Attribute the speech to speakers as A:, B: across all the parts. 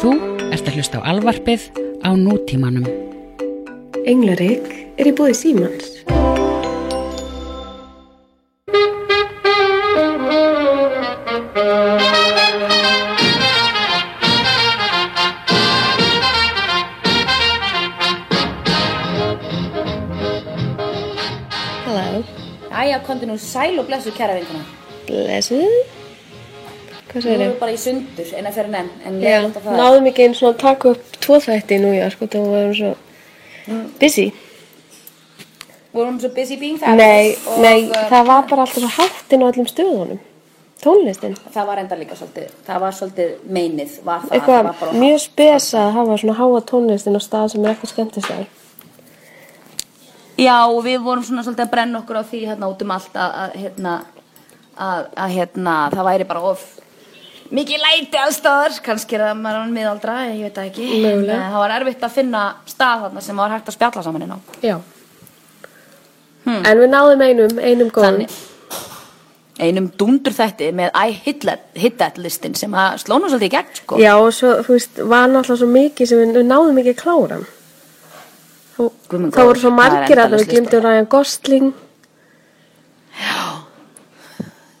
A: Þú ert að hlusta á alvarpið á nútímanum.
B: Englarik er í búið símans. Hello.
C: Æja, komdu nú sæl og blessu kæra vinkuna.
B: Blessuð. Hvað
C: Nú
B: segir
C: erum
B: þau?
C: við bara í sundur, eina fyrir enn, en ég
B: Já,
C: er alltaf það.
B: náðum ekki einn svona að taka upp tvo þætti í sko, New York og það varum svo busy.
C: Vorum svo busy being that.
B: Nei,
C: og,
B: nei,
C: uh,
B: það var bara alltaf svo hátt inn á öllum stöðunum. Tónlistin.
C: Það var enda líka svolítið, það var svolítið meinið, var það. það
B: Eitthvað
C: var bara-
B: mjög spesa að hafa svona háa tónlistin á stað sem er ekki skemmtistæður.
C: Já, og við vorum svona svolítið að brenna okkur á því hérna út um allt að, að hérna, að, að hérna, það væri bara of mikið læti aðstæður, kannski er það maður er orðinn miðaldra, ég veit það ekki.
B: Mögulega.
C: En, eh, Það var erfitt að finna stað þarna sem var hægt að spjalla saman inn á.
B: Já. En við náðum einum, einum góðum.
C: Þannig. einum dúndur þætti með I hit that, hit that listin sem að slóna svolítið í gegn sko.
B: Já, og svo, þú veist, var náttúrulega svo mikið sem við, við náðum ekki að klára. Þá,
C: Guð minn
B: þá
C: góður,
B: voru svo
C: það er
B: margir að
C: endalaus
B: við glemdum Ryan Gosling.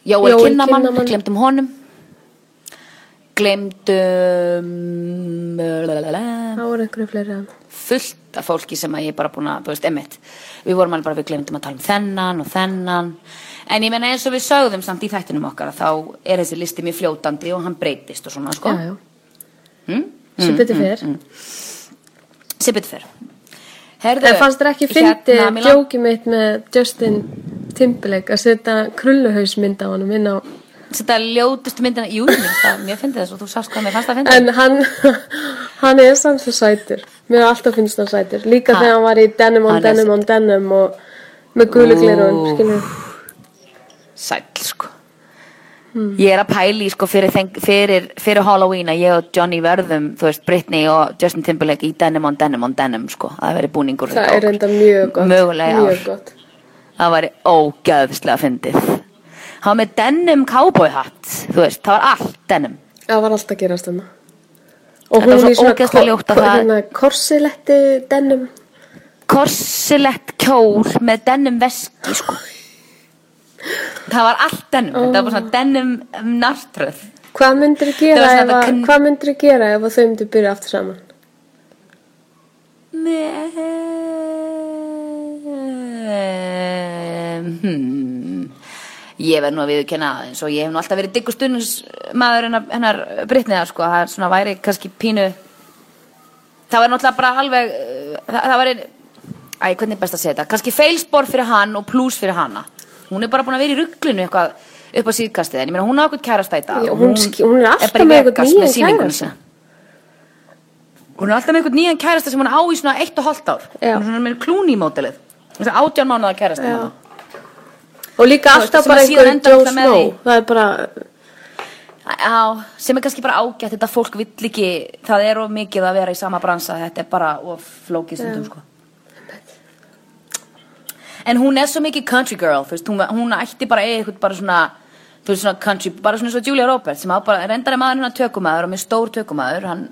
C: Jói
B: Jóel
C: Kinnamann,
B: Kinnaman.
C: glemdum honum glemdum
B: Það
C: lalalala,
B: voru einhverju fleiri að.
C: fullt af fólki sem að ég er bara búin að, þú veist, emmitt við vorum alveg bara, við glemdum að tala um þennan og þennan en ég meina eins og við sögðum samt í þættinum okkar að þá er þessi listi mjög fljótandi og hann breytist og svona sko
B: Já, já.
C: Mm?
B: Sem betur fer.
C: sem betur fer Herðu,
B: En fannst þér ekki fyndi
C: hérna,
B: hérna,
C: mig lang-
B: djókið mitt með Justin Timberlake að setja krulluhausmynd á honum inn á
C: Þetta ljótustu myndina, jú, mér finnst það, mér finnst það svo, þú sást hvað mér fannst það að finna.
B: en hann hann er samt svo sætur mér er alltaf finnst það sætur líka
C: Ha-
B: þegar hann var í denim on
C: hann er
B: denim on denim og með guluglir og
C: Ú.
B: skilur
C: Sæll, sko.
B: Hmm.
C: Ég er að pæli, sko, fyrir, þeng, fyrir, fyrir Halloween að ég og Johnny verðum, þú veist, Britney og Justin Timberlake í denim on denim on denim, sko. Það veri búningur.
B: það er enda mjög gott
C: Mögulega í ár.
B: mjög gott
C: Það væri ógæðslega fyndið. Hann var með denim cowboy hat, þú veist, það var allt denim.
B: það var alltaf að gerast þarna og
C: Þetta
B: hún
C: var
B: er
C: svo
B: svona
C: ógeðslega ljótt að það-
B: hérna, korsiletti denim
C: korsilett kjól með denim veski sko. það var allt denim þetta var bara svona denim um, nartröð
B: hvað myndir
C: Það
B: gera
C: var svona
B: ef,
C: þetta
B: að-
C: kn-
B: hvað myndir gera ef að þau myndir byrja aftur saman
C: Hmm. ég verð nú að viðurkenna aðeins og ég hef nú alltaf verið diggur stundinsmaður hennar, hennar Britniðar sko, það er svona væri kannski pínu það var náttúrulega bara alveg uh, það, það var ein æ, hvernig er best að segja þetta, kannski feilspor fyrir hann og plús fyrir hana hún er bara búin að vera í rugglinu eitthvað upp á síðkastið en ég meina hún á eitthvað kærasta í dag
B: Já,
C: og
B: hún sk- hún er alltaf
C: bara í
B: með einhvern
C: Vegas
B: nýjan
C: sýninguna
B: kærasta.
C: sína. hún er alltaf með einhvern nýjan kærasta sem hún á í svona eitt og hálft ár
B: Já.
C: hún er svona með klúni mótilið þess að átján mánuða kærasta
B: Já.
C: hérna. hennar.
B: og líka
C: Þú veist,
B: alltaf
C: sem
B: bara
C: að síðan
B: einhver
C: endar
B: Joe
C: alltaf með
B: Snow
C: því.
B: það er bara
C: Já, sem er kannski bara ágætt þetta fólk vill ekki, það er of mikið að vera í sama bransa, þetta er bara of flókið stundum sko En hún er svo mikið country girl, þú veist, hún, hún ætti bara eða eitthvað bara svona, þú veist, svona country, bara svona svo Julia Roberts sem á bara, reyndar er maður hennar tökumæður og með stór tökumæður, hann,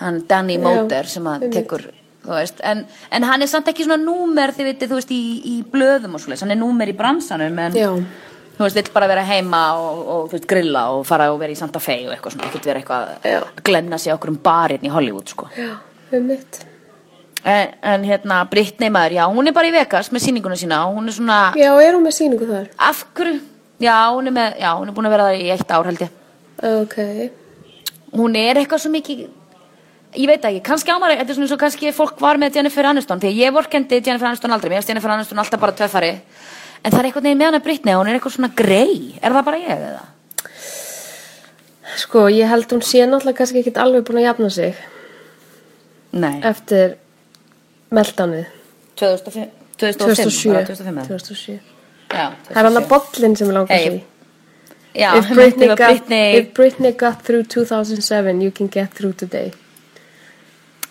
C: hann Danny Motor sem að
B: einmitt.
C: tekur, þú veist, en, en hann er samt ekki svona númer, þið vitið, þú veist, í, í blöðum og svoleiðis, hann er númer í bransanum, en
B: Já.
C: þú veist, vill bara vera heima og, og þú veist, grilla og fara og vera í Santa Fe og eitthvað svona, ekkert vera eitthvað
B: Já.
C: að glenna sig okkur um barinn í Hollywood, sko.
B: já, um mitt
C: En, en hérna, Brittany maður, já, hún er bara í Vegas með sýninguna sína og hún er svona,
B: já, er hún með síningu þar?
C: af hverju, já, hún er með, já, hún er búin að vera það í eitt ár, held ég.
B: ok
C: Hún er eitthvað svo mikið, ég veit það ekki, kannski ámari, þetta er svona svo kannski fólk var með Jennifer Aniston, því að ég vorkendi Jennifer Aniston aldrei, mér finnst Jennifer Aniston alltaf bara töffari, en það er eitthvað neginn með hana Brittany, hún er eitthvað svona grey, er það bara ég eða?
B: sko, ég held hún sé náttúrulega kannski ekkit alveg búin að jafna sig
C: Nei.
B: eftir meldanið
C: 2005
B: 2007
C: bara 2005 eða?
B: 2007
C: Já,
B: það er hann að bollin sem langar
C: Hey,
B: hey,
C: Já,
B: if,
C: Britney,
B: Britney got, if Britney got through 2007 you can get through today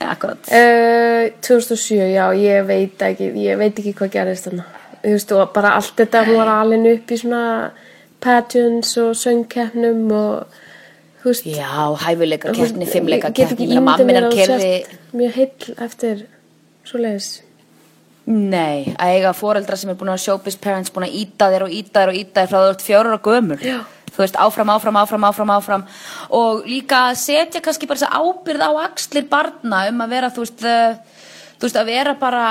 C: Akkurat
B: uh, 2007, já, ég veit ekki ég veit ekki hvað gerist þarna þú veist, og bara allt þetta, hún var alin upp í svona pageants og söngkeppnum og þú veist
C: Já, hæfileikar keppni, fimmleikar
B: Ég get
C: keppni
B: ekki
C: Ég meina,
B: ímyndað
C: mamma
B: mér
C: minnar
B: að þú
C: kerði
B: sért mjög heill eftir svoleiðis
C: Nei, að eiga foreldra sem er búin að showbiz parents búin að íta þér og íta þér og íta þér frá þú ert fjórar og gömul
B: Já.
C: þú veist, áfram, áfram, áfram, áfram, áfram og líka að setja kannski bara þess að ábyrð á axlir barna um að vera, þú veist uh, þú veist, að vera bara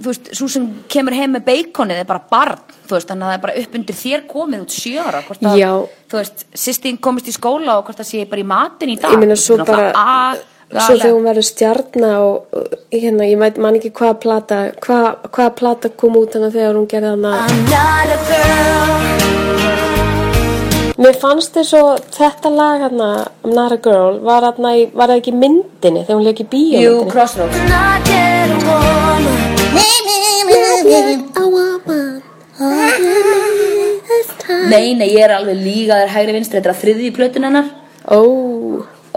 C: þú veist, svo sem kemur heim með beikonið er bara barn, þú veist, þannig að það er bara upp undir þér komið út sjö ára hvort að,
B: Já.
C: þú veist, sýstin komist í skóla og hvort það sé bara í matin í dag
B: ég meina svo
C: Þetta er
B: bara
C: náttúrulega
B: svo
C: agalega.
B: þegar hún verður stjarnar og og, hérna, ég veit man ekki hvaða plata hvað, hvaða plata kom út hana þegar hún gerði hana
D: I'm not a girl.
B: mér fannst þér svo þetta lag hana, I'm not a girl var, hana, í- var það ekki í myndinni þegar hún leik í bíó
C: Jú, crossroads
D: I'm not yet a woman.
C: Nei, nei, ég er alveg líka þær hægri vinstri, þetta er að þriðji plötun hennar
B: ó,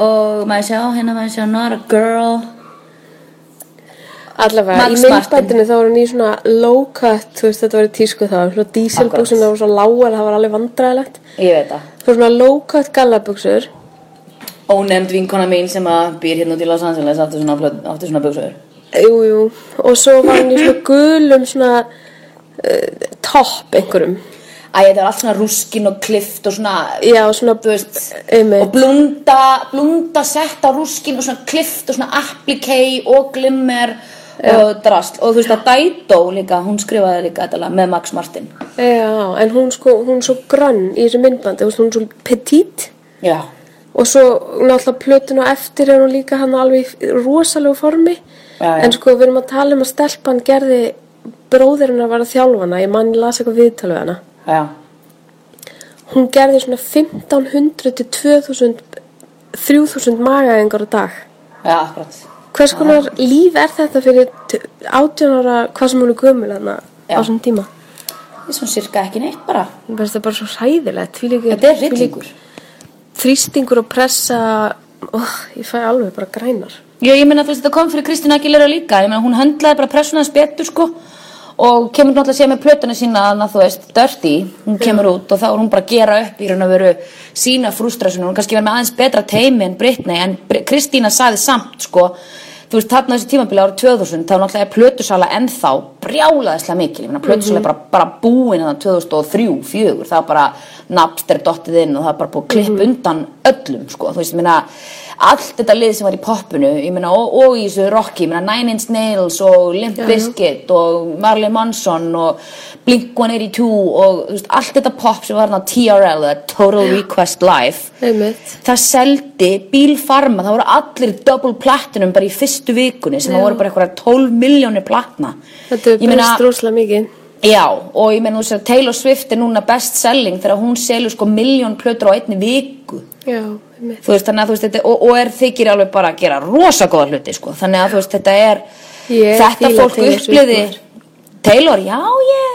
C: og maður sjá hérna, maður sjá not a girl
B: allavega
C: Max
B: í
C: Martin.
B: myndbættinu þá var hún í svona low cut, þú veist þetta var í tísku þá svona dísilbúsin og svo lágar, það var alveg vandræðilegt
C: Ég veit það
B: Svo svona low cut gallabuxur
C: Ónefnd vinkona mín sem að býr hérna út í Los Angeles átti svona, plöt, átti svona buksur
B: Jú, jú Og svo var hann í svona gulum svona uh, Topp einhverjum
C: Æ, þetta var allt svona rúskin og klift og svona
B: Já, svona
C: Þú veist Og
B: einmitt.
C: blunda, blunda sett á rúskin og svona klift og svona appliqué og glimmer og drast Og þú veist að Dædó líka, hún skrifaði líka þetta lag með Max Martin
B: Já, en hún sko, hún er svo grann í þessu myndbandi þú veist, Hún er svo petit
C: Já
B: Og svo náttúrulega plötun og eftir er hún líka hann alveg í rosalegu formi
C: Já, já.
B: En sko, við erum að tala um að stelpan gerði Bróðir hennar var að þjálfa hana Ég mann las eitthvað viðtal við hana
C: Já
B: Hún gerði svona 1500 til 2000 3000 magaðingar á dag
C: Já, akkurat
B: Hvers konar líf er þetta fyrir t- 18 ára, hvað sem hún er gömul hana
C: Já.
B: á svona tíma?
C: Ég svona sirka ekki neitt bara
B: Mér finnst það bara svo hræðilegt, tvílíkur,
C: Þetta er rillingur
B: þrýstingur og pressa, oh, ég fæ alveg bara grænar.
C: Já, ég meina þú veist, þetta kom fyrir Kristina Aguilera líka, ég meina hún höndlaði bara pressuna hans betur sko og kemur náttúrulega að segja með plötuna sína þannig að þú veist, Dirty, hún kemur út og þá er hún bara að gera upp í raun og veru sína frústrasunum, hún kannski verið með aðeins betra teimi en Britney, en Br- Kristína saði samt sko, þú veist, þarna á þessi tímabili árið 2000, þá náttúrulega er plötusala ennþá brjálaðislega mikil, ég meina plötusala er bara, bara búin þannig 2003, 2004, það var bara Napster dottið inn og það var bara búið að klippa undan öllum, sko, þú veist, ég meina allt þetta lið sem var í poppinu ég meina, og, og í þessu rocki, ég meina Nine Inch Nails og Limp Bizkit og Marley Manson og Blink-182 og þú veist, allt þetta pop sem var þarna TRL eða Total Request Live
B: Einmitt.
C: það seldi bílfarma það voru allir double platinum bara í fyrstu vikunni sem það voru bara eitthvað 12 miljónir platna
B: Þetta er
C: Ég meina-
B: breyst rosalega mikið.
C: Já, og ég meina þú sér að Taylor Swift er núna best selling þegar hún selur sko miljón plötur á einni viku
B: Já, einmitt.
C: þú veist, þannig að þú veist, þetta, og, og er þykir alveg bara að gera rosa góða hluti, sko, þannig að þú veist, þetta er,
B: Ég
C: þetta
B: fíla
C: fólk
B: Taylor Swift,
C: uppliði,
B: maður.
C: Taylor, já, ég,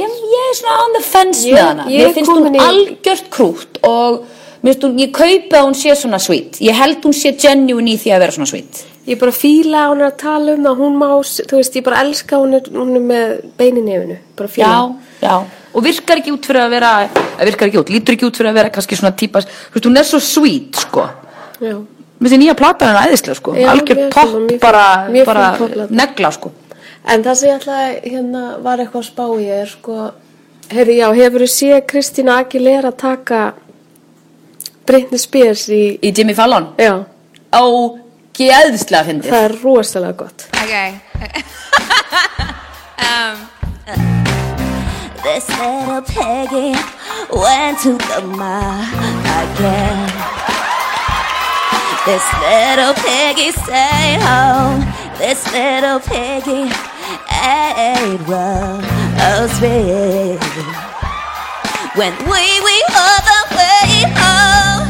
C: ég, ég er svona on the fence
B: Ég-
C: með hana,
B: ég er
C: mér finnst
B: komin
C: hún
B: í-
C: algjört krútt og mér finnst hún, ég kaupi að hún sé svona sweet, ég held hún sé genuine í því að vera svona sweet.
B: Ég bara fíla að hún er að tala um að hún má, s- þú veist, ég bara elska að hún er, hún er með beinin í nefinu. Bara fíla.
C: Já, já, og virkar ekki út fyrir að vera, eða virkar ekki út, lítur ekki út fyrir að vera kannski svona típa, þú veist, hún er svo sweet, sko.
B: Já.
C: Mér finnst nýja plata hennar æðislega sko,
B: Já,
C: algjör
B: mér finnst
C: topp
B: hún mjög fín.
C: bara,
B: Mjög fín
C: bara
B: topplata.
C: negla sko.
B: En það sem ég ætlaði, hérna, var eitthvað að spá ég er, sko, heyrðu, já, hefur þú séð Kristína Aguilera taka Britney Spears í,
C: í Jimmy Fallon
B: já,
C: og geðslega fyndið
B: það er rosalega gott.
E: Okay.
D: This little piggy went to the mall again. This little piggy stayed home. This little piggy ate rosemary. When we were on the way home.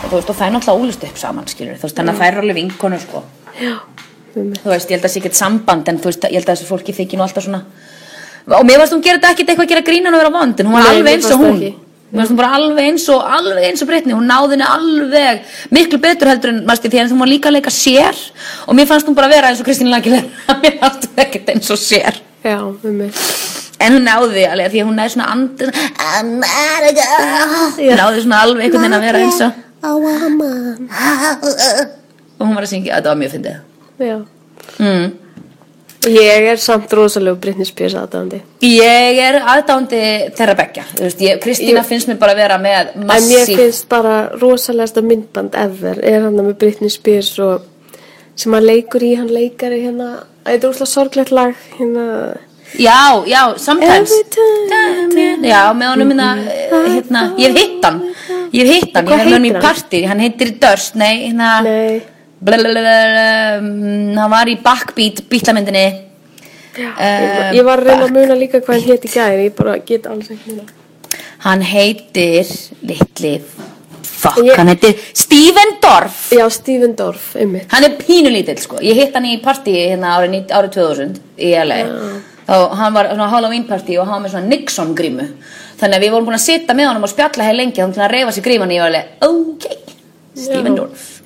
C: og þú veist og það er náttúrulega úlist upp saman skilur þú veist þannig að það er alveg vinkonu sko þú veist ég held að það sé ekkert samband en þú veist ég held að þessu fólki þykir nú alltaf svona og mér varst hún gera þetta ekkert eitthvað að gera grínan og vera vond en hún var
B: Nei,
C: alveg
B: mér
C: eins
B: fannst
C: og hún
B: ekki.
C: mér varst hún bara alveg eins og alveg eins og breytni hún náði henni alveg miklu betur heldur en marstu því að hún var líka að leika sér og mér fannst hún bara vera eins og Kristín Lagilega mér fannst hún ekkert eins og sér
B: Já, um mig.
C: en hún náði alveg af því að hún náði svona andin
D: I'm not a girl.
C: náði svona alveg einhvern veginn að vera eins og
D: A woman.
C: og hún var að syngja, þetta var mjög fyndið
B: já.
C: mm.
B: Ég er samt rosalegu Britney Spears aðdæmandi.
C: ég er aðdándi þeirra beggja Þú veist, ég- Kristína finnst mér bara að vera með
B: En mér
C: massíf
B: finnst bara rosalegasta myndband ever er hann með Britney Spears og sem hann leikur í, hann leikar í hérna, Æ, þetta er úrslega sorglegt lag hérna,
C: já, já, sometimes
B: Every time
C: já, með honum minna hérna, ég hef hitt hann ég hef hitt hann,
B: Hvað
C: ég hef hann í
B: heitir hann?
C: partí hann heitir Dörst, nei, hérna
B: Nei,
C: blablabla, mm, hann var í Backbeat bítlamyndinni
B: ég,
C: Ehm,
B: ég var að reyna að muna líka hvað hann hétt í gæri, ég bara get alls ekki muna
C: hann heitir litli fuck,
B: Ég-
C: hann heitir Steven Dorff
B: Já, Stephen Dorff, einmitt
C: hann er pínulítill sko ég hitt hann í partí hérna árið ní- árið 2000 í LA þá hann var svona Halloween partí og hann var með svona Nixon grímu þannig að við vorum búin að sitja með honum og spjalla hér lengi þannig að reyfa sér gríman í og ég var alveg ok, Stephen Dorff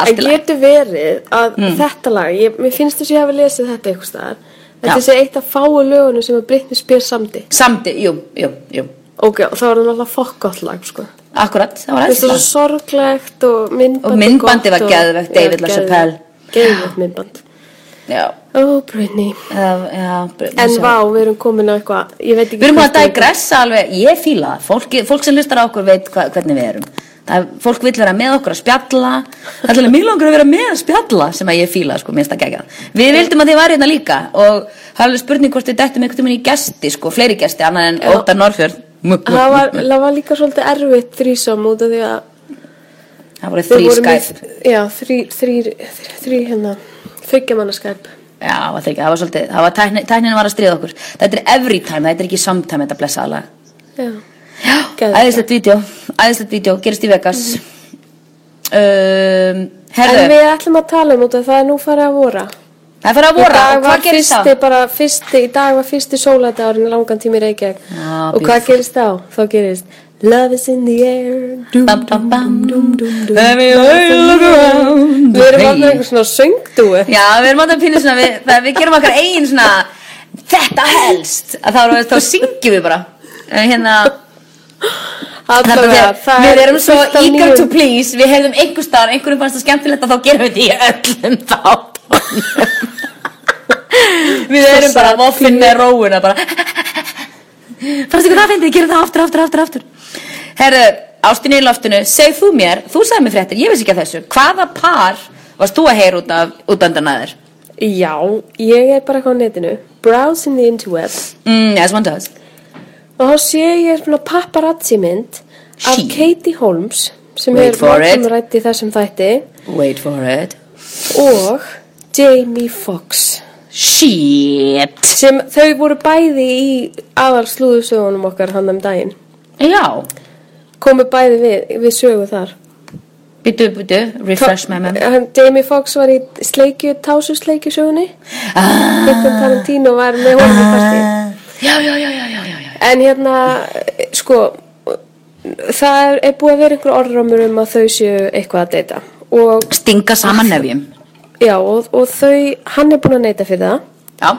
B: En
C: allt í lagi Mm.
B: getur verið að þetta lag, ég, mér finnst þess að ég hafi lesið þetta eitthvað staðar
C: Já.
B: Þetta sé eitt af fáu lögunum sem að Britney Spears samdi
C: samti, jú, jú, jú
B: Ok, og þá var hann alltaf fokkott lag, sko
C: akkurat, það var
B: Þetta er
C: aðeins
B: svo sorglegt og myndbandi
C: Og myndbandið var
B: gott og-
C: geðvegt, David
B: Já,
C: LaChapelle.
B: geðvegt- Geðvegt myndband
C: já,
B: Ó, Britney
C: uh, já,
B: En vá, við erum komin á eitthvað Ég veit ekki
C: Við erum
B: hvort
C: að digressa alveg, ég fíla það, fólk, fólk sem hlustar á okkur veit hva, hvernig við erum. Það, er- fólk vil vera með okkur að spjalla, það er alveg mjög langur að vera með að spjalla sem að ég fíla, sko, mér finnst það gegja. Við vildum að þið væri hérna líka og það er alveg spurning hvort við dettum einhvern veginn í gesti, sko, fleiri gesti, annað en Óttar Norfjörn. Mugg, mugg,
B: Það var,
C: mugg, mugg.
B: það var líka svolítið erfitt þrísam út af því að
C: Það voru
B: við
C: þrý
B: vorum í-
C: skæp.
B: Já, þrý, þrý, þrý, þrý hérna Þryggja manna skæp
C: Já, það var þriggja, það var svolítið, það var tæknin, tæknin var að stríða okkur. Þetta er every time, þetta er ekki sometime, þetta blessaða lag.
B: Já, Geðvegt.
C: Æðislegt vídeo, æðislegt vídeo, gerist í Vegas. um, herðu,
B: En við ætlum að tala um út af það er nú farið að vora
C: Það er farið að
B: Í
C: vora
B: dag var
C: og hvað gerist
B: fyrsti,
C: þá?
B: Bara, fyrsti, í dag var fyrsti sóladagurinn í langan tími í Reykjavík
C: Já,
B: og hvað gerist þá? Þá gerist Love is in the air dum,
C: Bam, bam, bam, dum, dum, dum.
B: Við erum alltaf einhver svona söngdúi
C: Já, við erum alltaf pínu svona, við, það, við gerum okkar eigin svona Þetta helst að þá, þá syngjum við bara En hérna,
B: Alla
C: þetta
B: vega,
C: er, við erum svo
B: fullt af
C: eager
B: nýjum-
C: to please Við heyrðum einhver staðar, einhverjum fannst það skemmtilegt að þá gerum við því í öllum þátt Við erum bara voffin með róuna bara Fannst ykkur það fyndið, gerum það aftur, aftur, aftur, aftur Herðu, ástinni í loftinu, segð þú mér, þú sagði mér fréttir, ég vissi ekki að þessu Hvaða par varst þú að heyra út af útöndan að þér?
B: Já, ég er bara eitthvað á netinu Browsing the interweb
C: Mm, as one does
B: og þá sé ég svona paparazzi mynd af
C: She.
B: Katie Holmes sem
C: Wait
B: er
C: for it.
B: margum rætt í þessum þætti
C: Wait for it
B: og Jamie Foxx
C: Shit
B: sem þau voru bæði í aðal slúðusögunum okkar hann um daginn
C: Já,
B: komu bæði við, við sögu þar
C: byttu, byttu, refresh my memory
B: Hann, Jamie Foxx var í sleikju, tásusleikju sögunni
C: ah,
B: Quentin Tarantino var með honum í partí
C: Já, já, já, já, já, já, já
B: en hérna, eh, sko það er, er búið að vera einhver orðrómur um að þau séu eitthvað að deyta og
C: Stinga saman
B: Ah.
C: nefjum
B: Já, og, og þau, hann er búinn að neyta fyrir það,
C: Já,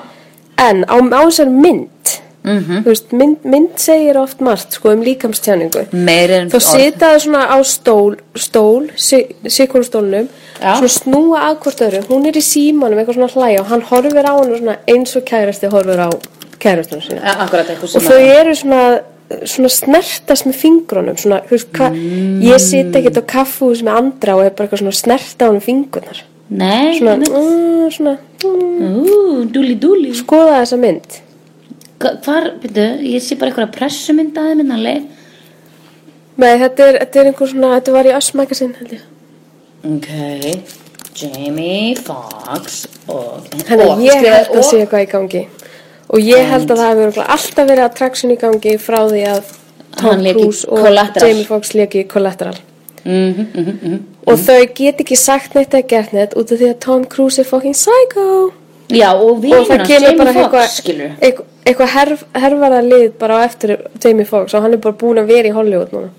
B: en á, á þessar mynd,
C: Mhm.
B: þú veist, mynd, mynd segir oft margt, sko, um líkamstjáningu.
C: meir en
B: Þá sita þau svona á stól, stól, sikkur stólnum,
C: Já.
B: svona snúa að hvort öðru, hún er í símanum, eitthvað svona að hlæja og hann horfir á hana svona eins og kærasti horfir á kærastunum sína.
C: Ja, Akkurat eitthvað
B: Og
C: sem
B: þau
C: að-
B: eru svona, svona snertast með fingrunum, svona, þú veist, hva, ég sit ekkert á kaffús með andra og er bara eitthvað svona að snerta á hann fingrunar.
C: Nei,
B: Svona, mm, svona, mm,
C: ú, dúli, dúli
B: skoða þessa mynd
C: Hvar, byttu, ég sé bara eitthvað pressumyndaði
B: hérna
C: minna leið
B: Nei, þetta er, þetta er einhver svona, þetta var í Össmagasin held ég
C: Ok, Jamie Foxx og
B: Þannig
C: og-
B: að ég
C: skrifaði
B: held að
C: og-
B: sé eitthvað í gangi Og ég held að það hefur örugglega alltaf verið attraction í gangi frá því að Tom
C: Hann lék í
B: Cruise og
C: Collateral. Mhm,
B: Jamie Foxx leki Collateral Og þau get ekki sagt neitt eða gert neitt út af því að Tom Cruise er fucking psycho
C: Já, og
B: Og það
C: vinur hans,
B: kemur bara
C: Jamie Foxx, skilur
B: eitthvað eitthvað- eitthvað herf, herfara lið bara á eftir Jamie Foxx og hann er bara búin að vera í Hollywood núna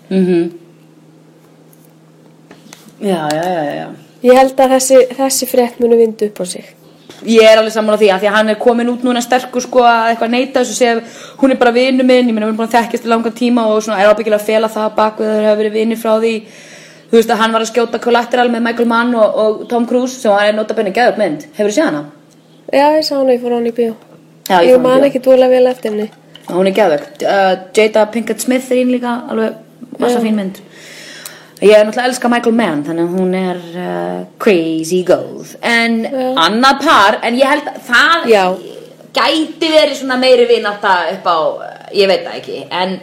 C: Já, já, já, já
B: Ég held að þessi, þessi frétt munu vindu upp á sig
C: ég er alveg saman á því af því að hann er komin út núna sterkur sko að eitthvað neita þessu segja hún er bara vinnu minn, ég meina við erum búin að þekkjast í langan tíma og svona er ábyggilega að fela það bak við að þeir hafa verið vinni frá því þú veist að hann var að skjóta collateral með Michael Mann og, og Tom Cruise sem hann er notabenni gæðup mynd, hefur þú séð hana?
B: Já, ég sá hana, ég fór á hana í bíó.
C: Já, ég
B: ég
C: fór á hana í bíó.
B: man ekki dvolega vel eftir henni.
C: hún er gæðvögg uh, Jada Pinkett Smith er ín líka alveg massa fín mynd ég er náttúrulega að elska Michael Mann þannig að hún er uh, crazy góð en annað par en ég held að það
B: Já.
C: gæti verið svona meiri vinátta upp á eh, ég veit það ekki en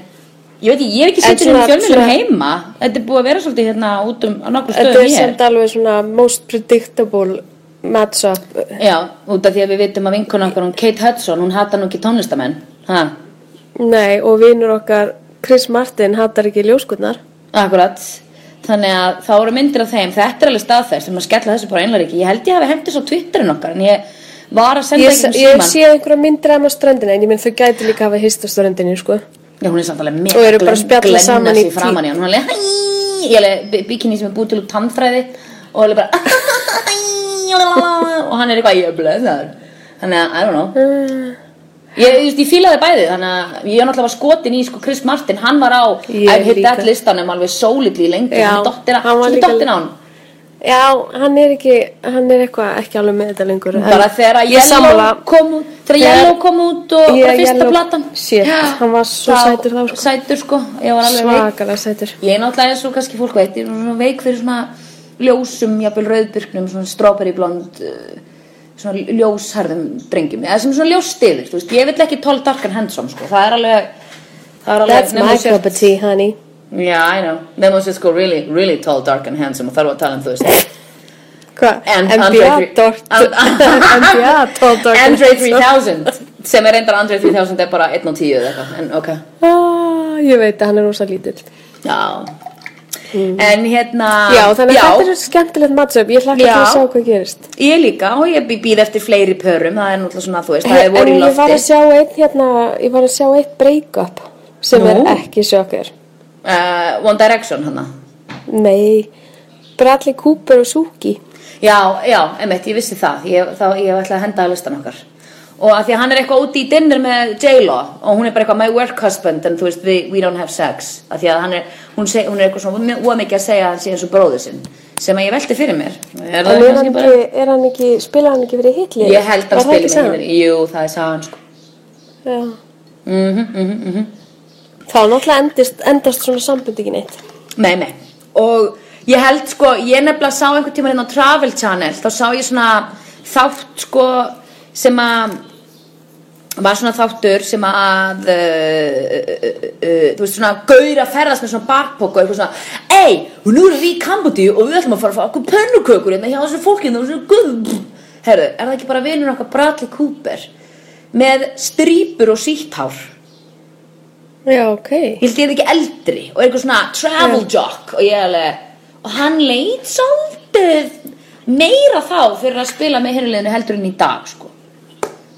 C: ég veit ekki, ég hef ekki
B: En
C: setið um
B: svona-
C: fjölmjölum
B: svona-
C: heima þetta er búið að vera svolítið hérna út um á nokkur
B: Þetta
C: stöðum
B: er
C: hér
B: samt alveg svona most predictable matchup.
C: já, út af því að við vitum að vinkona okkur hún Kate Hudson, hún hata nú ekki tónlistamenn ha,
B: Nei, og vinur okkar Chris Martin hattar ekki ljóskunnar.
C: Akkurat Þannig að þá eru myndir af þeim Þetta er alveg staðfæst sem að skella þessu bara einlega ekki Ég held ég hafi hendis á Twitterin okkar En ég var að
B: Ég,
C: senda ekki um
B: ég hef
C: síman
B: séð einhverja myndir af hann á ströndinni, en ég minn þau gæti líka hafa hist á ströndinni, sko.
C: Já, hún er samt alveg með
B: Og eru bara að spjalla saman í
C: sig framan í hann Hún er alveg "Hæ!" Ég er alveg bikini sem er búið til úr tannfræði Og alveg bara Og hann er eitthvað ég er blöðar Þannig að, I don't know
B: Uh.
C: Ég, ég, ég fílaði bæði, þannig að ég er náttúrulega skotin í sko Chris Martin, hann var á
B: Ég
C: I've hit
B: líka.
C: that listanum alveg sólidli lengi,
B: Já,
C: hann er dottin á
B: hann var líka-
C: dottin á hann
B: Já, hann er ekki, hann er eitthvað ekki alveg með þetta lengur. en-
C: bara þegar
B: Ég
C: Yellow
B: sammála.
C: kom út þegar
B: Þegar-
C: Yellow kom út og
B: Ég-
C: bara fyrsta
B: Yellow-
C: platan
B: Shit, hann var svo
C: þá-
B: sætur þá, sko.
C: sætur sko, ég var alveg veik
B: Svakalega sætur.
C: ég er náttúrulega eins og kannski fólk veit ég er svona veik fyrir svona ljósum jafnvel rauðbyrknum, svona strawberry blond uh, svona ljósharðum drengjum, eða sem svona ljósstiður þú veist, ég vil ekki tall dark and handsome sko það er alveg það er alveg
B: That's
C: nema
B: my
C: þú sért-
B: cup of tea, honey.
C: yeah, I know, nema þú sést sko really, really tall, dark and handsome og þarf að tala um þú veist
B: Hvað?
C: And
B: NBA
C: Andre
B: Dort.
C: And-
B: NBA Dort.
C: Andre 3000 sem er reyndar Andre 3000 er bara 1 og 10 eða eitthvað, en ok
B: Ah, ég veit að hann er rosa lítill.
C: Já En hérna
B: Mm. Já, þannig að þetta er skemmtilegt matchup. Ég hlakka til
C: Já.
B: að sjá hvað gerist.
C: Ég líka og ég bý- býð eftir fleiri pörum Það er náttúrulega svona, þú veist, það er
B: En
C: voru í
B: ég var
C: lofti
B: að sjá einn hérna, ég var að sjá eitt break-up sem
C: Nú?
B: er ekki sjokkar.
C: uh, One Direction hana
B: Nei, Bradley Cooper og Suki.
C: Já, já, emmitt, ég vissi það Ég, þá, ég ætla að henda að listan okkar Og að því að hann er eitthvað úti í dinner með J-Lo Og hún er bara eitthvað my work husband En þú veist, we, we don't have sex Að því að hann er, hún, seg, hún er eitthvað svona Of mikið að segja að hann sé eins og bróður sinn Sem að ég velti fyrir mér Er
B: En
C: það
B: er hann
C: kannski bara
B: ekki, er hann ekki, spila hann ekki fyrir hitlið?
C: Ég held að spila með hinn Jú, það er sagan sko
B: Já.
C: Mhm, mhm, mhm.
B: Þá náttúrulega endist, endast svona sambund ekki neitt.
C: Nei, nei Og ég held sko, ég nefnilega sá einhvern tíma hérna á Travel Channel Þá sá ég svona þátt sko sem að var svona þáttur sem að uh, uh, uh, þú veist svona gaur að ferðast með svona bakpoka og eitthvað svona ei, og nú erum við í Kambodíu og við ætlum að fara að fá okkur pönnukökur hérna hjá þessu fólkinu og svona guð herðu, er það ekki bara vinur okkar Bradley Cooper með strýpur og síttár
B: Já, ok.
C: ég held ég er ekki eldri og er eitthvað svona travel jock og ég alveg og hann leit svolítið meira þá fyrir að spila með hinnuleginu heldur en í dag sko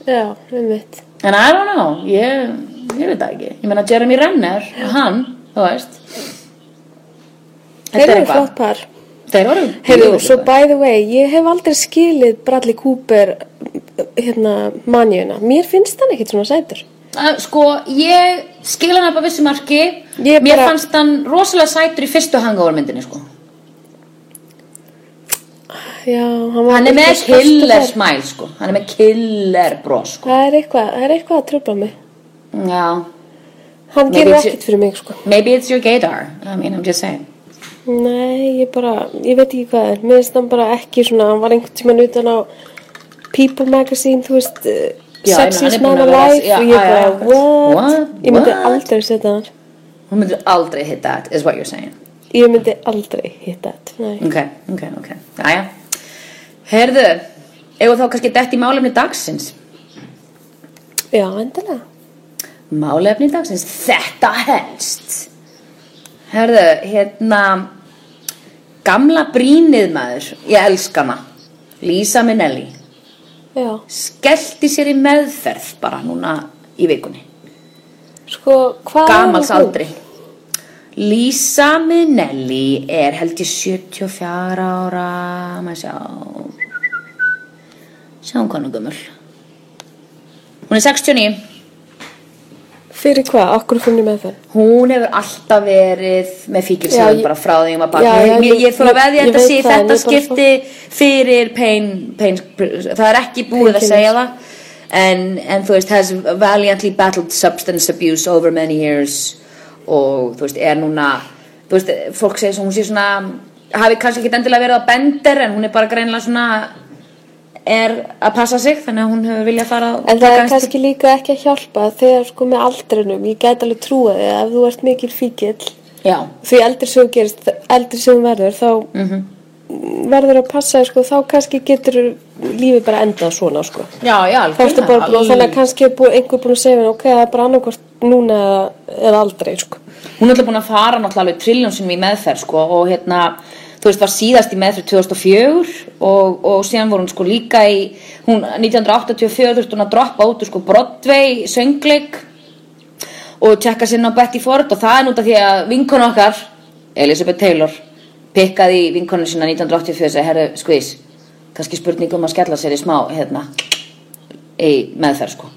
B: Já, um mitt.
C: en I don't know, ég, ég veit það ekki ég meina Jeremy Renner, hann þú veist
B: Þeir eru flott par.
C: þeir eru
B: Heyrðu,
C: mjög
B: svo
C: flott.
B: by the way, ég hef aldrei skilið Bradley Cooper hérna manjöna. Mér finnst hann ekkit svona sætur.
C: Að, sko, ég skil hann upp að vissu marki
B: Ég
C: mér
B: bara-
C: fannst hann rosalega sætur í fyrstu hangover myndinni sko
B: Já, hann var
C: hann er með
B: eitthvað
C: killer
B: kostur þar.
C: smile sko hann er með killer bros sko
B: Það er eitthvað, það er eitthvað að tröfla mig.
C: já
B: Hann
C: Nei,
B: gerir
C: við-
B: ekkit fyrir mig, sko.
C: Maybe it's your gaydar. I mean, I'm just saying.
B: Nei, ég bara, ég veit ekki hvað er. Mér finnst hann bara ekki svona, hann var einhvern tímann utan á People Magazine, þú veist, eh,
C: Já, ég meina, hann er
B: Sexiest
C: búinn
B: Man
C: að vera-
B: Alive
C: já,
B: og ég
C: já,
B: bara,
C: já,
B: what?
C: what?
B: Ég myndi
C: What?
B: aldrei setja hann.
C: Hún myndi aldrei hit that, is what you're saying.
B: Ég myndi aldrei hitta þetta, nei.
C: Ok, ok, ok. Jæja. Herðu, eigum þá kannski dett í málefni dagsins.
B: Já, endilega.
C: Málefni dagsins, þetta helst. Herðu, hérna, gamla brínið maður, ég elska hana, Lisa Minnelli,
B: Já.
C: skellti sér í meðferð bara núna í vikunni.
B: Sko, hvað er
C: gamals
B: hún?
C: aldri Lisa Minnelli er held ég 74 ára maður sjá Sjáum hvað hún er gömul. Hún er 69.
B: Fyrir hvað? Okkur fyrir með það?
C: Hún hefur alltaf verið með
B: Já,
C: fíkilsögum
B: ég-
C: bara frá því um að barna.
B: Já, já,
C: Ég, ég, ég þóra
B: ég-
C: veðja
B: ég
C: þetta
B: veit
C: sé í
B: það, en
C: þetta
B: ég bara
C: skipti fyrir pain, pain, það er ekki búið að
B: Painkillers.
C: segja það. En, en þú veist, has valiantly battled substance abuse over many years og þú veist, er núna, þú veist, fólk segir svo, hún sé svona, hafi kannski ekki endilega verið á bender en hún er bara greinlega svona, er að passa sig þannig að hún hefur viljað fara og
B: En það
C: taka
B: er
C: aðeins til-
B: kannski líka ekki að hjálpa þegar sko með aldrinum, ég gæti alveg trúa því að ef þú ert mikil fíkil
C: Já,
B: því eldri sem þú gerist, eldri sem þú verður þá
C: Mhm.
B: verður að passa þér, sko, þá kannski getur lífið bara endað svona sko.
C: já, já,
B: þá ertu bara búin að þannig að kannski er búin, einhver búin að segja mér, ok, það er bara annarkvort núna eða- eða aldrei sko.
C: hún er alltaf búin að fara náttúrulega alveg trilljón sem í meðferð sko og hérna þú veist var síðast í meðferð 2004 og, og síðan voru hún sko líka í hún 1984 þurfti hún að droppa út úr sko Broadway söngleik og tjekka sér inn á Betty Ford og það er núta því að vinkonu okkar Elizabeth Taylor pikkaði í vinkonu sína 1984 sem herru skvís kannski spurningum að skella sér í smá hérna í meðferð sko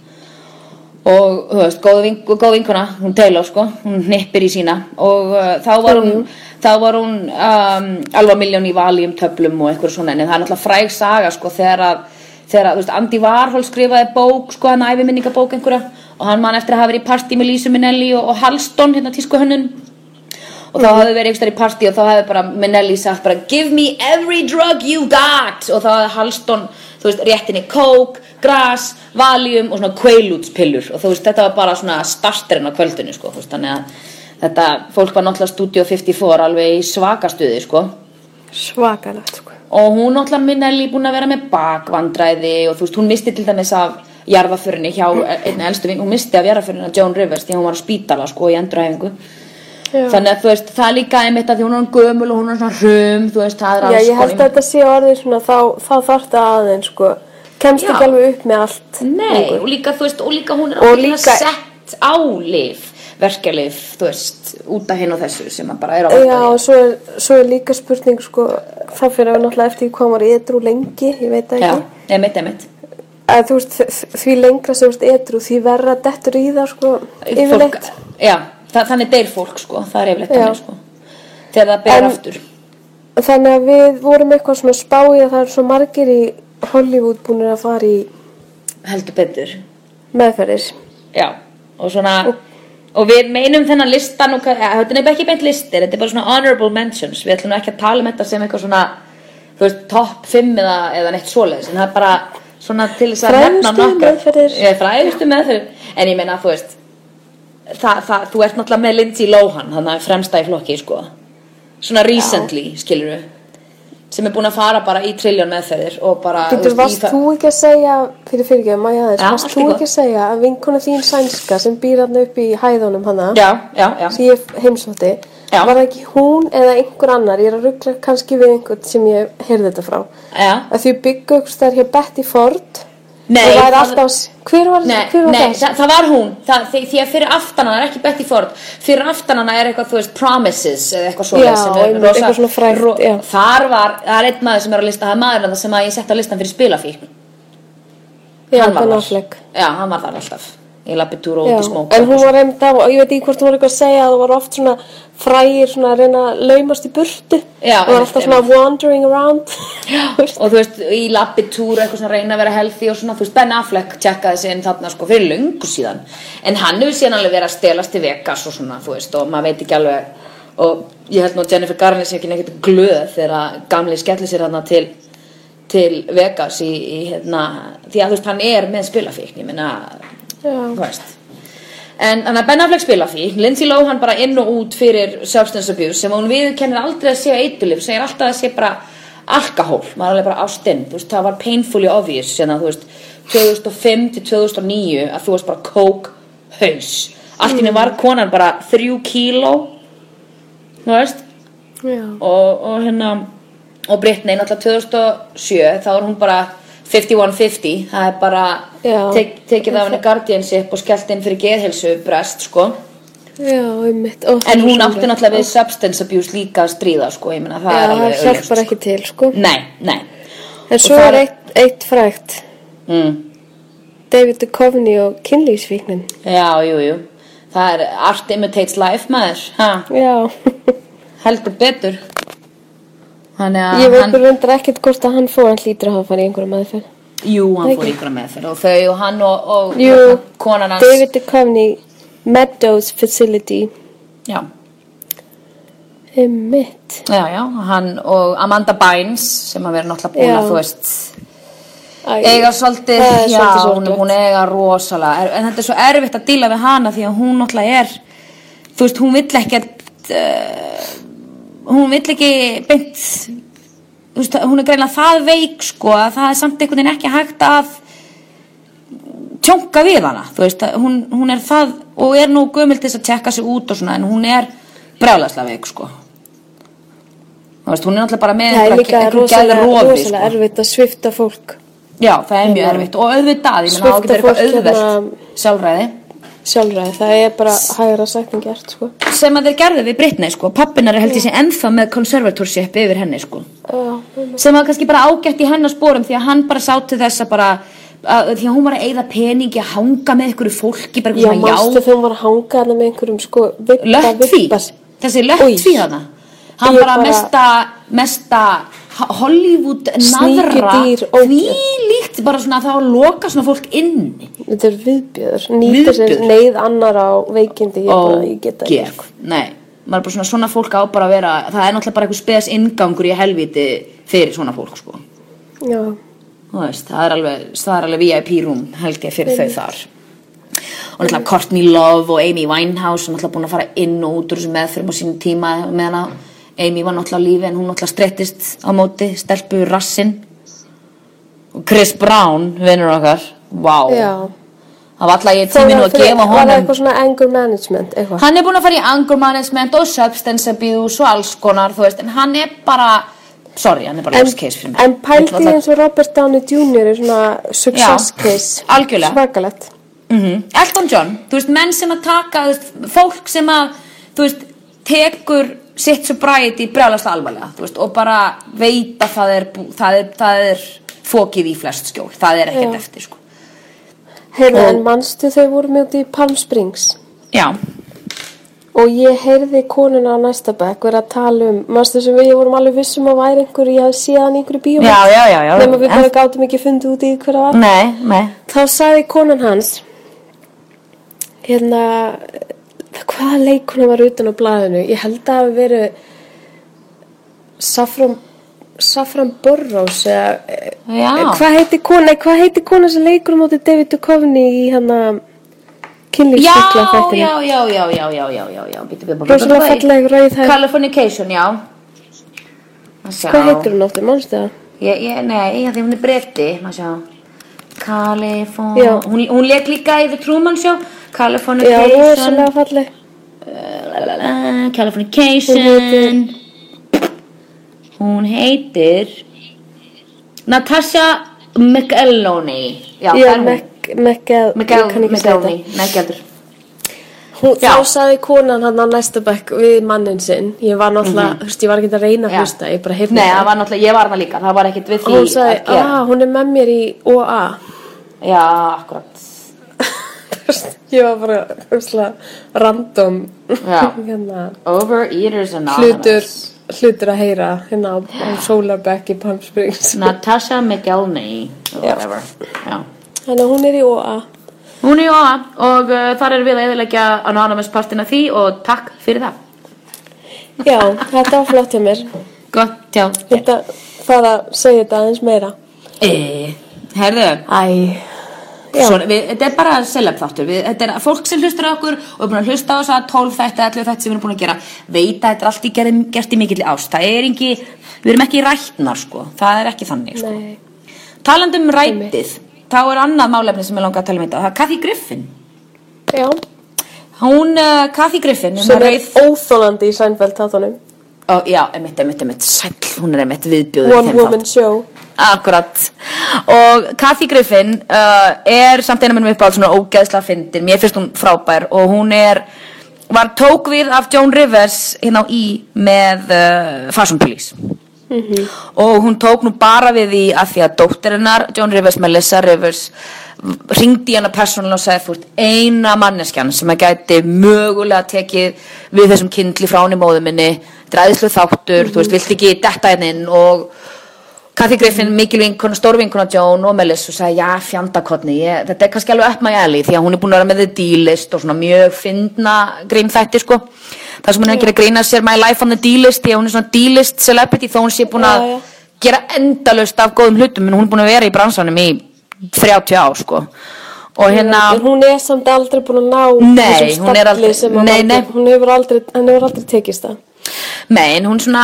C: og þú veist, góð, vink, góð vinkona hún Taylor sko, hún hnippir í sína og uh, þá var hún þá var hún um, alveg miljón í vali um töflum og eitthvað svona en það er náttúrulega fræg saga sko þegar að þegar að, þú veist, Andy Warhol skrifaði bók sko, hann æfiminningabók einhverja og hann man eftir að hafa verið í partí með Lísu Minnelli og, og Halston, hérna tísku hönnun og þá hafði verið einhverstað í partí og þá hafði bara Minnelli sagt bara give me every drug you got og þá hafði Halston, þú veist, réttinni kók, gras, valium og svona kveilútspillur og þú veist, þetta var bara svona starterinn á kvöldinu sko, þú veist, þannig að þetta, fólk var náttúrulega Studio 54 alveg í svakastuði sko
B: svakalegt sko.
C: og hún náttúrulega Minnelli búin að vera með bakvandræði og þú veist, hún misti til dæmis af jarðaförinni hjá einna elstu ving, hún misti af jarðaförinni af Joan Rivers því hún var á spítala sko í endurhæfingu
B: Já.
C: þannig að þú veist, það er líka einmitt að því hún er orðin gömul og hún er svona hrum, þú veist, það er
B: Já,
C: alls
B: ég held að
C: konar-
B: þetta sé orðið svona þá, þá þarf þetta aðeins sko. kemst
C: Já.
B: ekki alveg upp með allt
C: Nei,
B: lengur.
C: og líka, þú veist, og líka hún er
B: Og
C: að byrja
B: líka-
C: sett á lif, verkjalif, þú veist, út af hinn og þessu sem að bara er á
B: Já, og svo er, svo er líka spurning sko, það fyrir að við náttúrulega eftir hvað maður er edru lengi, ég veit það
C: Já,
B: ekki
C: einmitt, einmitt.
B: að þú veist, þ- því lengra sem þú veist edru, því verra dettur í það sko,
C: fólk,
B: yfirleitt
C: já, það, þannig deyr fólk sko, það er yfirleitt
B: Já.
C: þannig sko þegar það ber
B: En-
C: aftur
B: þannig að við vorum eitthvað svona spáið að það eru svo margir í Hollywood búinir að fara í
C: heldur betur,
B: meðferðir
C: já og svona, og við meinum þennan listan og hvað- ja, þetta er ekki beint listir þetta er bara svona honorable mentions, við ætlum nú ekki að tala um þetta sem eitthvað svona, þú veist top 5 eða, eða neitt svoleiðis en það er bara svona til þess að
B: Frægustu meðferðir.
C: Ég, frægustu meðferðir, en ég meina þú veist það, það, þú ert náttúrulega með Lindsay Lohan, þannig að fremsta í flokki sko, svona recently já. sem er búin að fara bara í trilljón meðferðir og bara
B: Þú
C: veist, í
B: varst
C: það-
B: þú ekki að segja fyrir fyrirgjöfum, maður aðeins,
C: Já,
B: varst
C: allt í
B: þú
C: góðu.
B: ekki að segja að vinkona þín sænska sem býr hann upp í hæðunum hana
C: já, já, já,
B: sem ég heimsótti
C: Já.
B: var það ekki hún eða einhver annar ég er að ruggla kannski við einhvern sem ég heyrði þetta frá
C: já.
B: að því byggja ykkur stær hér Betty Ford
C: Nei,
B: og
C: það-
B: væri alltaf hver var,
C: Nei,
B: hver var
C: nei
B: það?
C: það, það var hún það, því, því að fyrir aftan hana er ekki Betty Ford Fyrir aftan hana er eitthvað, þú veist, Promises Eða eitthvað svo
B: Já, einmitt, eitthvað svona frægt, já.
C: Þar var, það er einn maður sem er á lista Það er maður það sem að ég sett á listan fyrir spilafíkn
B: Já,
C: Hann var
B: Ben
C: þar.
B: Affleck.
C: Já, hann var þar alltaf Ég lappi túr og
B: Já,
C: út í smók
B: en hún var einmitt af og ég veit ekki hvort hún var eitthvað að segja að það var oft svona frægir svona að reyna að laumast í burtu
C: Já,
B: og var
C: einmitt,
B: alltaf svona wandering around já,
C: Og þú veist, í lappi túr eitthvað svona reyna að vera healthy og svona, þú veist, Ben Affleck tjekkaði sig inn þarna sko fyrir löngu síðan. En hann hefur síðan alveg verið að stelast til Vegas og svona, þú veist, og maður veit ekki alveg. Og ég held nú að Jennifer Garner sé ekki neitt glöð þegar að gamli skellir sér þarna til, til Vegas í, í hérna, því að þú veist, hann er með spilafíkn, ég meina, þú veist. En þannig að Ben Affleck spila því, Lindsay Lohan bara inn og út fyrir substance abuse sem hún viðurkennir aldrei að sé eitulif, segir alltaf að sé bara alkohól, maður er alveg bara ástinn, þú veist, það var painfully obvious sem að þú veist, 2005 til 2009 að þú varst bara coke haus, allt í mm. var konan bara 3 kíló, þú veist,
B: já.
C: og, og hérna og Britney náttúrulega 2007 þá er hún bara 51-50 það er bara
B: Já.
C: tek, tekið af henni guardianship og skellt inn fyrir geðhelsu brest sko
B: já, einmitt Ó,
C: en hún átti náttúrulega við substance abuse líka að stríða sko ég meina það
B: Já,
C: er
B: það
C: alveg augljóst. sko.
B: hjálpar ekki til sko
C: nei, nei
B: En svo
C: Og það
B: er
C: er-
B: eitt, eitt frægt
C: mm.
B: David Duchovny og kynlýsvíknin
C: Já, jú, jú Það er art imitates life maður ha,
B: Já,
C: Heldur betur Þannig
B: ég
C: að
B: veit
C: Ah, hann
B: bara reyndar ekkert hvort að hann fór hann hlýtur að hafa farið í einhverja maðurferð
C: Jú, hann fór ykkur með þeir og þau og hann og, og
B: Jú,
C: konan hans
B: David Duchovny Meadows Facility
C: Já,
B: Emmitt
C: já, já, hann og Amanda Bynes sem að vera náttúrulega búin
B: Já.
C: að þú veist eiga svolítið,
B: Það er svolítið
C: já, hún er
B: sorglegt.
C: búin að eiga rosalega, er- en þetta er svo erfitt að díla við hana því að hún náttúrulega er þú veist, hún vill ekkert uh, hún vill ekki beint þú veist, hún er greinlega það veik sko að það er samt einhvern veginn ekki hægt að tjónka við hana þú veist, að hún, hún er það og er nú gömul til þess að tjekka sig út og svona en hún er brjálæslega veik sko þú veist, hún er náttúrulega bara með
B: Það er
C: einhverja-
B: líka
C: einhverju
B: rosalega,
C: geðrofi, sko.
B: rosalega erfitt að svifta fólk
C: Já, það er mjög erfitt og auðvitað, ég menna
B: Svipta
C: á getur eitthvað
B: Hérna, fólk
C: auðvelt
B: hérna-
C: sjálfræði
B: sjálfræði, það er bara hægra sagt en gert sko.
C: sem að þeir gerðu við Britney sko, pappinar er held ég sem ennþá með conservatorship yfir henni sko,
B: Já,
C: sem var kannski bara ágætt í hennar spórum því að hann bara sá til þess að bara að, því að hún var að eigða peningi að hanga með einhverju fólki, bara
B: já
C: eitthvað
B: mástu
C: svona já,
B: þegar hún var að hanga hana með einhverjum sko vippa,
C: löttví,
B: vippar.
C: þessi
B: Új.
C: löttví þarna, hann
B: Ég
C: bara
B: bara-
C: mesta, mesta Hollywood naðra,
B: Sníkjudýr, ógeð.
C: því líkt bara svona að það loka svona fólk inni
B: Þetta er viðbjöður, nýta sér
C: Viðbjöður.
B: neyð annar á veikindi, ég, bara, ég geta
C: ógeð, nei maður er bara svona, svona fólk á bara að vera það er náttúrulega bara eitthvað spes ingangur í helviti fyrir svona fólk sko
B: ekki. Já,
C: Þú veist, það er alveg, það er alveg VIP room held ég fyrir þau þar og náttúrulega Courtney Love og Amy Winehouse sem náttúrulega búin að fara inn og út úr þessum meðfyrum á sínum tíma meðan að Amy var náttúrulega á lífi en hún náttúrulega strettist á móti stelpu rassinn og Chris Brown, vinnur okkar vá,
B: já.
C: það var alltaf ég
B: Það
C: tíminu
B: var
C: að
B: fyrir-
C: gefa
B: Var það
C: honum
B: eitthvað svona anger management, eitthvað?
C: hann er búinn að fara í anger management og substance abuse og alls konar þú veist, en hann er bara sorry, hann er bara worst case fyrir mig
B: en
C: Ég ætla
B: pældi
C: að-
B: eins og Robert Downey Jr. er svona success
C: Já,
B: case.
C: algjörlega.
B: Svakalegt.
C: Mhm. Elton John, þú veist, menn sem að taka þú veist, fólk sem að þú veist, tekur sitt sobriety brjálast alvarlega, þú veist, og bara veit að það er, bú- það er, það er fókið í flest skjól, það er ekkert
B: Já.
C: eftir sko.
B: Heyrðu,
C: Og-
B: en manstu þau voru mjög út í Palm Springs?
C: já,
B: Og ég heyrði konuna á næsta bekk vera að tala um, mannstu sem við vorum alveg vissum að væri einhver, ég hafði séð hann í einhverju bíómynd.
C: Já, já, já, já.
B: Nefnum við
C: En-
B: bara gátum ekki fundið út í hverja var.
C: nei, nei
B: Þá sagði konan hans, hérna, hvaða leikuna var utan á blaðinu? Ég held að hafi verið Safran, Safran Burrows eða,
C: Já.
B: eh, hvað heiti kona, nei, hvað heiti kona sem leikur á móti David Duchovny í hérna
C: Já,
B: kynlífsvíkla þættinu?
C: já, já, já, já, já, já, já, já, býtu við bara
B: Rosalega falleg rauðhærð.
C: Californication, já. Sjá.
B: Hvað heitir hún áttur, mannstu það?
C: Ég, ég, nei, ég, því hún er bretti, maður sjá. California,
B: Já.
C: hún, hún leik líka í The Truman Show,
B: Já,
C: Californication,
B: rosalega falleg.
C: uh, Californication, hún heitir Natasha McElhoney, já, það
B: Já,
C: er hún.
B: Meg- Megal, ég kann
C: McEl-
B: ekki segja þetta.
C: McElhoney, nei, ekki heldur.
B: Hún-
C: Já.
B: Þá saði konan hann á næsta bekk við mannin sinn. Ég var náttúrulega, þú veist, ég var ekki að reyna að
C: Mhm. Já.
B: hlusta, ég bara heyrði
C: Nei, það var náttúrulega, ég var hana líka, það var ekkert
B: Og
C: við því
B: hún sagði,
C: að gera.
B: ah, hún er með mér í OA.
C: Já, akkurat.
B: Þú veist, ég var bara, þú veist, random,
C: Já.
B: hérna,
C: Overeaters Anonymous.
B: hlutur, hlutur að heyra, hérna á, á Solarbekk í Palm Springs.
C: Natasha McElney, or whatever. Já.
B: Þannig að Hérna, hún er í OA.
C: Hún er í OA og uh, þar erum við að eðilegja Anonymous partina því og takk fyrir það.
B: Já, þetta var flott hjá mér.
C: Gott, já.
B: Ég ætla að fara að segja þetta aðeins meira.
C: E, herðu,
B: Æ, já.
C: Svona, við, þetta er bara selab þáttur við, þetta er fólk sem hlustur á okkur og er búin að hlusta á þess að 12 þetta, 11 þetta sem við erum búin að gera veit að þetta er allt í gerð, gert í mikill ást það er ekki, við erum ekki rætnar sko. það er ekki þannig sko.
B: Nei.
C: talandi um rætið þá er annað málefni sem ég langa að tala um þetta það er Kathy Griffin
B: Já,
C: hún, uh, Kathy Griffin hún
B: sem
C: er
B: er
C: rauð
B: óþólandi í Seinfeld þáttunum.
C: Ó, já, emitt, emitt, emitt, sæll hún er emitt viðbjóður
B: One Woman Show.
C: Akkurat og Kathy Griffin uh, er samt einu minnum uppáhald svona ógeðsla fyndin, mér finnst hún frábær og hún er, var tók við af Joan Rivers hérna á í með uh, Fashion Police og hún tók nú bara við því að því að dóttirinnar, Joan Rivers, Melissa Rivers ringdi í hana persónulega og sagði þú ert eina manneskjan sem að gæti mögulega tekið við þessum kindli frá henni móðu minni þetta er æðislu þáttur, þú veist, vilt ekki detta henni inn og Kathy Griffin, mikil vinkona, stór vinkona Joan og Melissa og sagði, já, fjandakotni ég, þetta er kannski alveg upp my alley því að hún er búin að vera með the D-list og svona mjög fyndna grínþætti sko það sem hún er að gera grína sér my life on the D-list því að hún er svona D-list celebrity þó hún sé búin að
B: Já, já.
C: gera endalaust af góðum hlutum en hún er búin að vera í bransanum í 30 ár sko og hérna
B: en hún er samt aldrei búin að ná
C: Nei,
B: þessum
C: hún er
B: stalli
C: aldrei-
B: sem að
C: nei,
B: valdi-
C: nei.
B: hún hefur aldrei, hann hefur aldrei tekist það
C: Nei, en hún svona,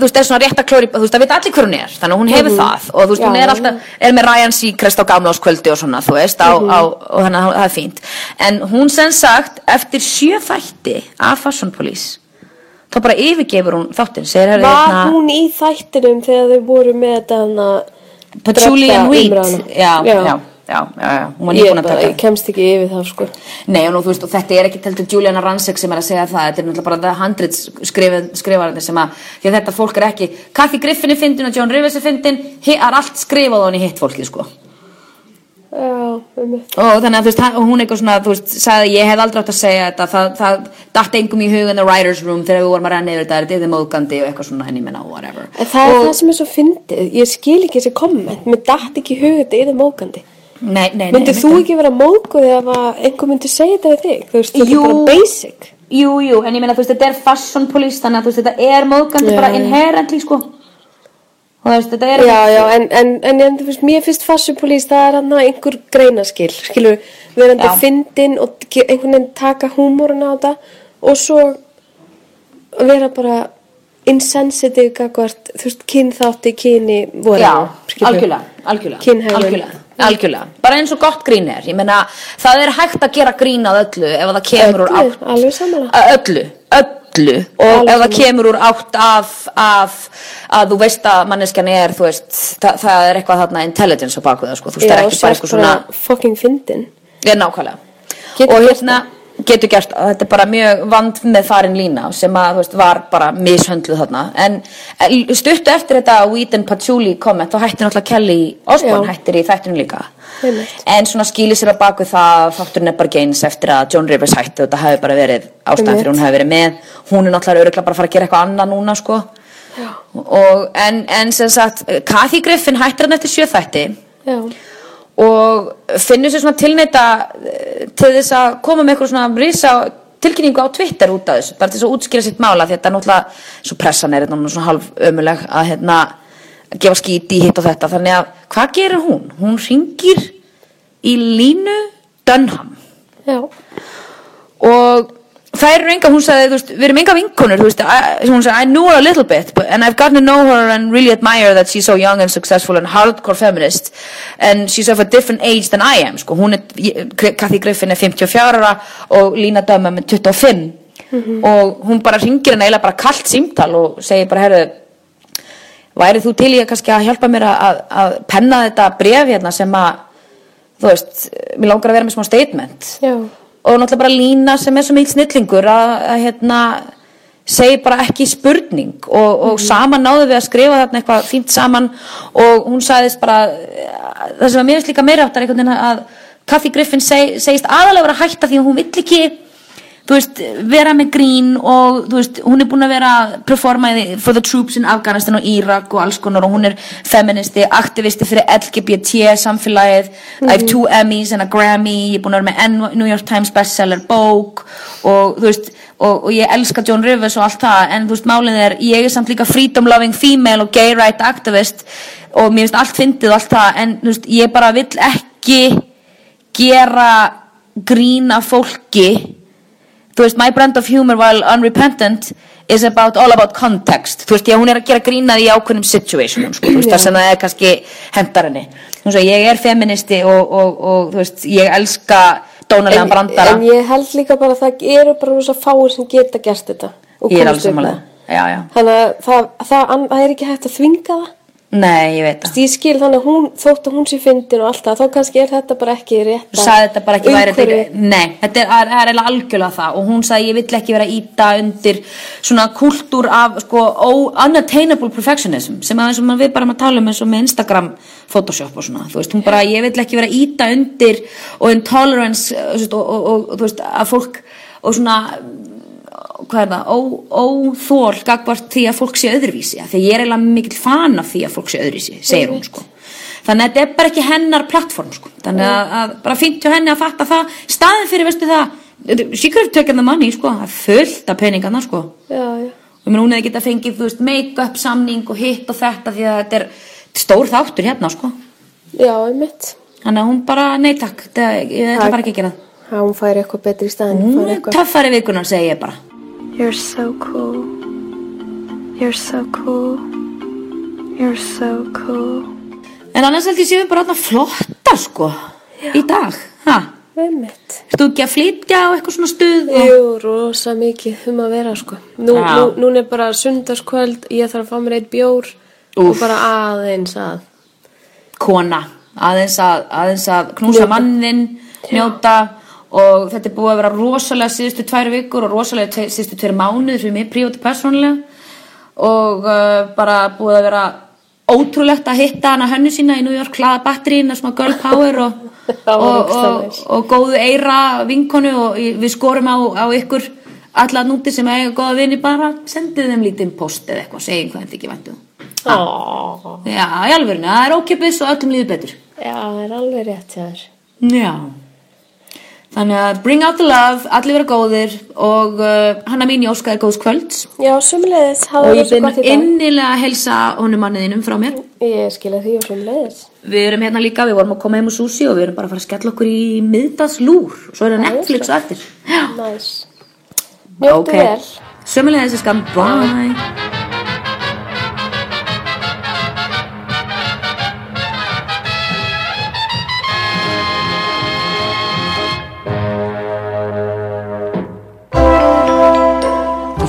C: þú veist, er svona rétt að klóri, þú veist, það veit allir hver hún er, þannig að hún hefur það og þú veist,
B: Mhm. Já,
C: hún er
B: já.
C: alltaf, er með Ryan Seacrest á gamláskvöldi og svona, þú veist, á,
B: Mhm.
C: á, og þannig að það er fínt. En hún sem sagt, eftir sjö þætti af Fashion Police, þá bara yfirgefur hún þáttinn, segir hérna, herri,
B: var hún í þættinum þegar þau voru með þetta hana
C: Patchouli
B: dredda
C: and Wheat,
B: umræðuna?
C: já, já, já, já, já, hún var
B: Ég,
C: nýbúin að
B: bara,
C: taka
B: ég kemst ekki yfir það sko
C: Nei, og, nú, þú veist, og þetta er ekki heldur Juliana Ransek sem er að segja það, þetta er náttúrulega bara The Hundreds skrifin, skrifarandi sem að, því að þetta fólk er ekki, Kathy Griffin er fyndin og John Rivers er fyndin, hi- það er allt skrifað honi hitt fólkið sko.
B: Já, um
C: Og þannig að þú veist, hann- og hún eitthvað svona, þú veist, sagði ég hef aldrei átt að segja þetta, það, það datt engum í hug in the writer's room þegar við vorum að renna yfir þetta, þetta er móðgandi og eitthvað svona, en ég menna, whatever.
B: En það er það sem er svo fyndið, ég skil ekki þessi komment, mér datt ekki í hug þetta yfir mókandi.
C: Nei, nei, nei.
B: Myndið þú
C: einmitt.
B: ekki vera mókuð ef að einhver myndi segja þetta við þig, þú veist, þetta
C: Jú.
B: er bara basic.
C: Jú, jú, en ég meina, þú veist, þetta er fashion police, þannig að þú veist, þetta er móðgandi
B: Já,
C: bara
B: já.
C: inherently, sko. Og þú veist, þetta er
B: Já, já, en, en, en, en þú veist, mér finnst fassupolís, það er hann einhver greinaskil, skilur, verandi
C: Já.
B: fyndin og ge- einhvern veginn taka húmórun á þetta og svo vera bara insensitive gagvart, þú veist, kynþátti, kyni, voru.
C: Já, algjörlega, algjörlega,
B: Kynhegðun.
C: algjörlega, algjörlega bara eins og gott grín er ég meina, það er hægt að gera grín að öllu ef það kemur úr
B: Öllu,
C: átt
B: alveg sammála.
C: Að öllu, öllu og
B: Alveg
C: ef það
B: sammála.
C: kemur úr átt af, af að þú veist að manneskjan er þú veist, það, það er eitthvað þarna intelligence á baku það sko, þú veist, það er
B: Já,
C: ekki bara
B: sérst
C: eitthvað svona
B: bara fucking fyndin.
C: Já, nákvæmlega.
B: Getur
C: og
B: gert
C: hérna getur gert það. Þetta er bara mjög vand með farin lína sem að, þú veist, var bara mishöndluð þarna. En en stuttu eftir þetta Weed and Patchouli komment þá hættir náttúrulega Kelly
B: Já.
C: Osborn hættir í þættinu líka.
B: Einmitt.
C: En svona skýli sér að baku það að þátturinn er bara geins eftir að John Rivers hætti og þetta hafi bara verið ástæðan
B: Einmitt.
C: fyrir hún hafi verið með. Hún er náttúrulega öruglega bara að fara að gera eitthvað annað núna sko. Og, en, en sem sagt, Kathy Griffin hættir hann eftir sjöþætti
B: Já.
C: og finnur sér svona tilneita eh, til þess að koma með eitthvað svona risa tilkynningu á Twitter út af þessu bara til þess að útskýra sitt mála því þetta er náttúrulega svo pressan er þetta hún er svona halv ömuleg að hérna gefa skíti í hitt og þetta þannig að hvað gerir hún? Hún ringir í Línu Dunham
B: Já.
C: og þær eru enga, hún sagði, þú veist, við erum enga vinkonur, þú veist, I, hún sagði, I knew her a little bit but, and I've gotten to know her and really admire that she's so young and successful and hardcore feminist and she's of a different age than I am, sko, hún er ég- Kathy Griffin er 54 ára og Lína Döma með 25 og hún bara ringir henni eiginlega bara kalt símtal og segir bara, herru værið þú til í að kannski að hjálpa mér að, að, að penna þetta bref hérna sem að þú veist, mér langar að vera með smá statement
B: Já.
C: og náttúrulega bara lína sem er svo mikil snillingur að, að hérna segi bara ekki spurning og, og saman náðu við að skrifa þarna eitthvað fínt saman og hún sagðist bara eh, það sem að mér finnst líka meira áttar einhvern veginn að Kathy Griffin seg, segist aðalega vera að hætta því að hún vill ekki þú veist, vera með grín og þú veist, hún er búin að vera að performa í- for the troops in Afghanistan og Irak og alls konar og hún er feministi, aktivisti fyrir LGBT samfélagið I have two Emmys and a Grammy ég er búin að vera með N- New York Times bestseller bók og þú veist og, og ég elska John Rivers og allt það en þú veist, málið er, ég er samt líka freedom loving female og gay right activist og mér finnst allt fyndið og allt það en þú veist, ég bara vill ekki gera grína fólki þú veist, my brand of humor while unrepentant is about, all about context þú veist, ég, hún er að gera grínað í ákveðnum situationum, sko, þú veist, það sem það er kannski hendar henni, þú veist, ég er feministi og, og, og þú veist, ég elska dónalega brandara
B: en ég held líka bara að það eru bara rosa fáir sem geta gert þetta og
C: ég er
B: komast
C: alveg
B: upp með
C: samanlega, já, já
B: það þannig að það, það, það, það er ekki hægt að þvinga það
C: Nei, ég veit það.
B: Þú veist, Ég skil þannig að hún, þótt að hún sé fyndin og alltaf, þá kannski er þetta bara ekki rétt.
C: Þú sagði þetta bara ekki væri þetta ekki, nei, þetta er, það er- það er eiginlega algjörlega það og hún sagði ég vill ekki vera að íta undir svona kultúr af sko ó- unattainable perfectionism sem að eins og maður við bara erum að tala um eins og með Instagram Photoshop og svona, þú veist, hún bara ég vill ekki vera að íta undir og intolerance eh, þú veist, og, og, og, þú veist, að fólk og svona hvað er það, ó, óþól gagvart því að fólk sé öðruvísi af því að ég er eiginlega mikill fan af því að fólk sé öðruvísi segir
B: Mhm.
C: hún sko þannig að þetta er bara ekki hennar plattform sko. þannig
B: Mhm.
C: að, að bara fínt hjá henni að fatta það staðin fyrir, veistu það she could have taken the money, sko, það er fullt af peningana sko,
B: Já, já.
C: og menn hún hefði getað fengið, þú veist, make-up samning og hitt og þetta því að þetta er stór þáttur hérna, sko,
B: Já, einmitt.
C: þannig að hún bara nei takk, þetta, ég ætla
B: Takk.
C: bara ekki að gera Mm, það
B: Já, hún fær eitthvað betri í staðin.
C: hún er töffari vikunar, segi ég bara
E: You're so cool. You're so cool. You're so cool.
C: En annars held ég séum bara þarna flottar sko í dag. Ha?
B: Einmitt.
C: Ertu ekki að flytja á eitthvað svona stuð? Og...
B: Jú, rosa mikið um að vera, sko. Nú,
C: Já.
B: nú, núna er bara sundarskvöld, ég þarf að fá mér eitt bjór og
C: Úff.
B: bara aðeins að.
C: Kona, aðeins að, aðeins að knúsa mannin, njóta og þetta er búið að vera rosalega síðustu tvær vikur og rosalega tve, síðustu tveir mánuður fyrir mig prívat persónulega og uh, bara búið að vera ótrúlegt að hitta hana hönnu sína í New York, hlaða batterína, svona girl power og,
B: Það var
C: og,
B: ógeðslega
C: og,
B: næs.
C: og góðu eira vinkonu og í- við skorum á, á ykkur alla núti sem eiga góða vini bara sendið þeim lítinn post eða eitthvað, segjum hvað þetta ekki væntu
B: Ó,
C: já, í alvörinu, það er ókipis og öllum líður betur
B: já, það er alveg rétt hjá þér.
C: já þannig að bring out the love, allir vera góðir og uh, hanna mín í óska er góðs kvölds
B: Já, sömulegðis, hafa
C: og ég
B: það svo
C: finn
B: gott í dag.
C: innilega að helsa honum manniðinum frá mér
B: Ég skilja því og sömulegðis.
C: Við erum hérna líka, við vorum að koma heim úr sushi og við erum bara að fara að skella okkur í miðdagslúr og svo er það Netflix og eftir. Já.
B: Næs. Njóttu
C: Ok.
B: vel.
C: Sömulega þessi skam, bye.
A: Þú